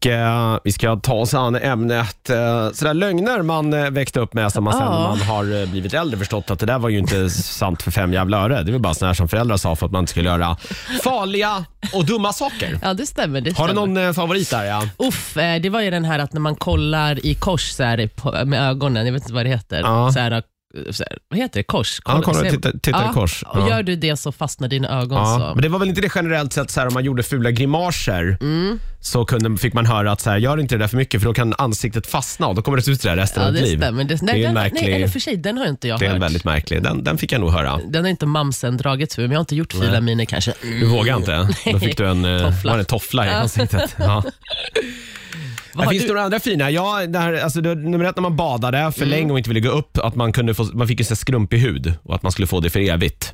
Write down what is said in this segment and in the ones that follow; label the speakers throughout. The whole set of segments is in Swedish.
Speaker 1: Och eh, vi ska ta oss an ämnet eh, sådär lögner man eh, växte upp med som man sen
Speaker 2: Ja.
Speaker 1: när man har eh, blivit äldre förstått att det där var ju inte sant för fem jävla öre. Det var bara sådana här som föräldrar sa för att man inte skulle göra farliga och dumma saker.
Speaker 2: Ja, det stämmer. Det
Speaker 1: Har du
Speaker 2: stämmer.
Speaker 1: någon eh, favorit där? Ja?
Speaker 2: Uff, eh, det var ju den här att när man kollar i kors så här, på, med ögonen, jag vet inte vad det heter.
Speaker 1: Ja.
Speaker 2: Så här, eh, så här, vad heter det? Kors?
Speaker 1: Ja, kolla,
Speaker 2: ser-
Speaker 1: titta- titta i kors.
Speaker 2: Och
Speaker 1: Ja.
Speaker 2: Gör du det så fastnar dina ögon.
Speaker 1: Ja,
Speaker 2: Så.
Speaker 1: Alltså. men det var väl inte det generellt sett så här, om man gjorde fula grimaser
Speaker 2: Mm.
Speaker 1: så kunde, fick man höra att så här, gör inte det där för mycket för då kan ansiktet fastna och då kommer det se ut sådär resten
Speaker 2: Ja,
Speaker 1: av ditt
Speaker 2: det
Speaker 1: liv.
Speaker 2: stämmer. Det, nej,
Speaker 1: är ju
Speaker 2: den,
Speaker 1: märklig-
Speaker 2: nej, eller för sig, den har inte jag
Speaker 1: Det är en
Speaker 2: hört.
Speaker 1: väldigt märklig. Den, den fick jag nog höra.
Speaker 2: Den har inte mamsen dragit för men jag har inte gjort fula miner kanske.
Speaker 1: Du vågar inte? Då fick du en eh,
Speaker 2: Toffla.
Speaker 1: Var det toffla i ansiktet. Ja.
Speaker 2: Vad
Speaker 1: Ja,
Speaker 2: har
Speaker 1: finns det
Speaker 2: du?
Speaker 1: några andra fina? Ja, det här, alltså, det, nummer ett när man badade
Speaker 2: Mm.
Speaker 1: för länge och inte ville gå upp, att man, kunde få, man fick ju så här skrumpig hud och att man skulle få det för evigt.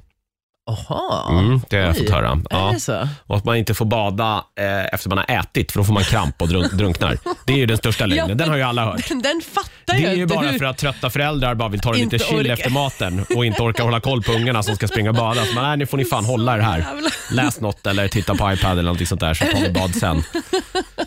Speaker 2: Jaha,
Speaker 1: Mm, det har jag
Speaker 2: Oj.
Speaker 1: fått höra.
Speaker 2: är
Speaker 1: Ja.
Speaker 2: det så?
Speaker 1: Och att man inte får bada eh, efter man har ätit för då får man kramp och drunk, drunknar. Det är ju den största lögnen, den har ju alla hört.
Speaker 2: Den, den fattar
Speaker 1: Det
Speaker 2: jag
Speaker 1: är ju
Speaker 2: inte.
Speaker 1: bara
Speaker 2: hur-
Speaker 1: för att trötta föräldrar bara vill ta det lite
Speaker 2: Inte
Speaker 1: chill
Speaker 2: orka.
Speaker 1: efter maten och inte orkar hålla koll på ungarna som ska springa och bada. Så man, nej, nu får ni fan hålla er här.
Speaker 2: jävla-
Speaker 1: Läs något eller titta på iPad eller någonting sånt där så tar vi bad sen.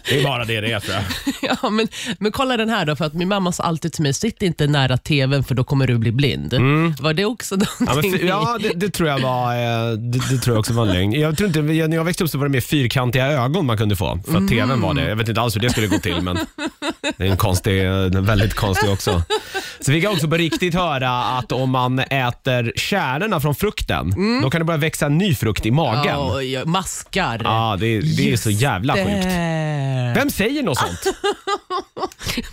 Speaker 1: Det är bara det det är tror jag.
Speaker 2: Ja, men, men kolla den här då, för att min mamma sa alltid till mig, sitt inte nära tvn för då kommer du bli blind. Var det också
Speaker 1: Mm. Ja, men,
Speaker 2: någonting?
Speaker 1: fy- ja det, det tror jag var, eh, det, det tror jag också var en lögn. Jag tror inte, jag- när jag växte upp så var det mer fyrkantiga ögon man kunde få. För att tvn var det. Jag vet inte alls hur det skulle gå till men det är en konstig, eh, väldigt konstig också. Så fick jag också på riktigt höra att om man äter kärnorna från frukten, då kan det börja växa en ny frukt i
Speaker 2: ni?
Speaker 1: magen.
Speaker 2: Ja,
Speaker 1: Ja,
Speaker 2: oj, oj, maskar.
Speaker 1: det, det är så jävla sjukt.
Speaker 2: Det.
Speaker 1: Vem säger något sånt?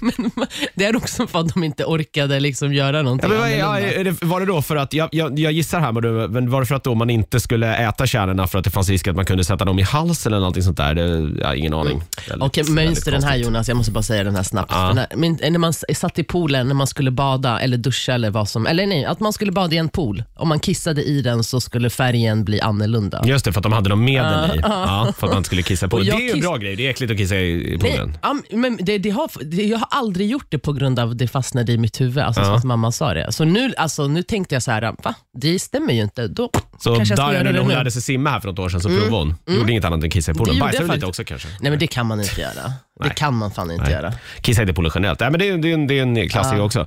Speaker 2: Men, det är också för att de inte orkade liksom göra
Speaker 1: Ja,
Speaker 2: någonting
Speaker 1: men, vad- ja,
Speaker 2: annorlunda.
Speaker 1: är det, var det då för att, jag, jag, jag gissar här, men du- men var det för att då man inte skulle äta kärnorna för att det fanns risk att man kunde sätta dem i halsen eller någonting sånt där? Det, jag har ingen aning. Väldigt-
Speaker 2: Okej, men
Speaker 1: väldigt
Speaker 2: just den här
Speaker 1: konstigt.
Speaker 2: Jonas, jag måste bara säga den här snabbt. Den här, men, när man s- satt i poolen när man skulle bada eller duscha eller vad som, eller nej, att man skulle bada i en pool. Om man kissade i den så skulle färgen bli annorlunda.
Speaker 1: Just det, för att de hade någon medel i. Ja, för att man inte skulle kissa på
Speaker 2: Och
Speaker 1: det. Det
Speaker 2: jag
Speaker 1: är ju en
Speaker 2: kiss-
Speaker 1: bra grej. Det är äckligt att kissa i i poolen.
Speaker 2: Nej, ja, men det, det har, det, jag har aldrig gjort det på grund av att det fastnade i mitt huvud, alltså så att mamma sa det. Så nu, alltså, nu tänkte jag så här, va? Det stämmer ju inte. Då
Speaker 1: Så
Speaker 2: kanske jag ska
Speaker 1: Darja,
Speaker 2: göra
Speaker 1: nu
Speaker 2: det
Speaker 1: när
Speaker 2: nu. Mm.
Speaker 1: hon lärde sig simma här för något år sedan, så provade hon. Gjorde inget annat än kissa i
Speaker 2: Det
Speaker 1: poolen.
Speaker 2: gjorde
Speaker 1: Bajsade
Speaker 2: jag
Speaker 1: lite
Speaker 2: fakt-
Speaker 1: också kanske?
Speaker 2: Nej, men det kan man inte göra. Det kan man fan inte göra.
Speaker 1: Kissa inte i poolen generellt. Nej, men det, är, det, är en, det är en klassiker också.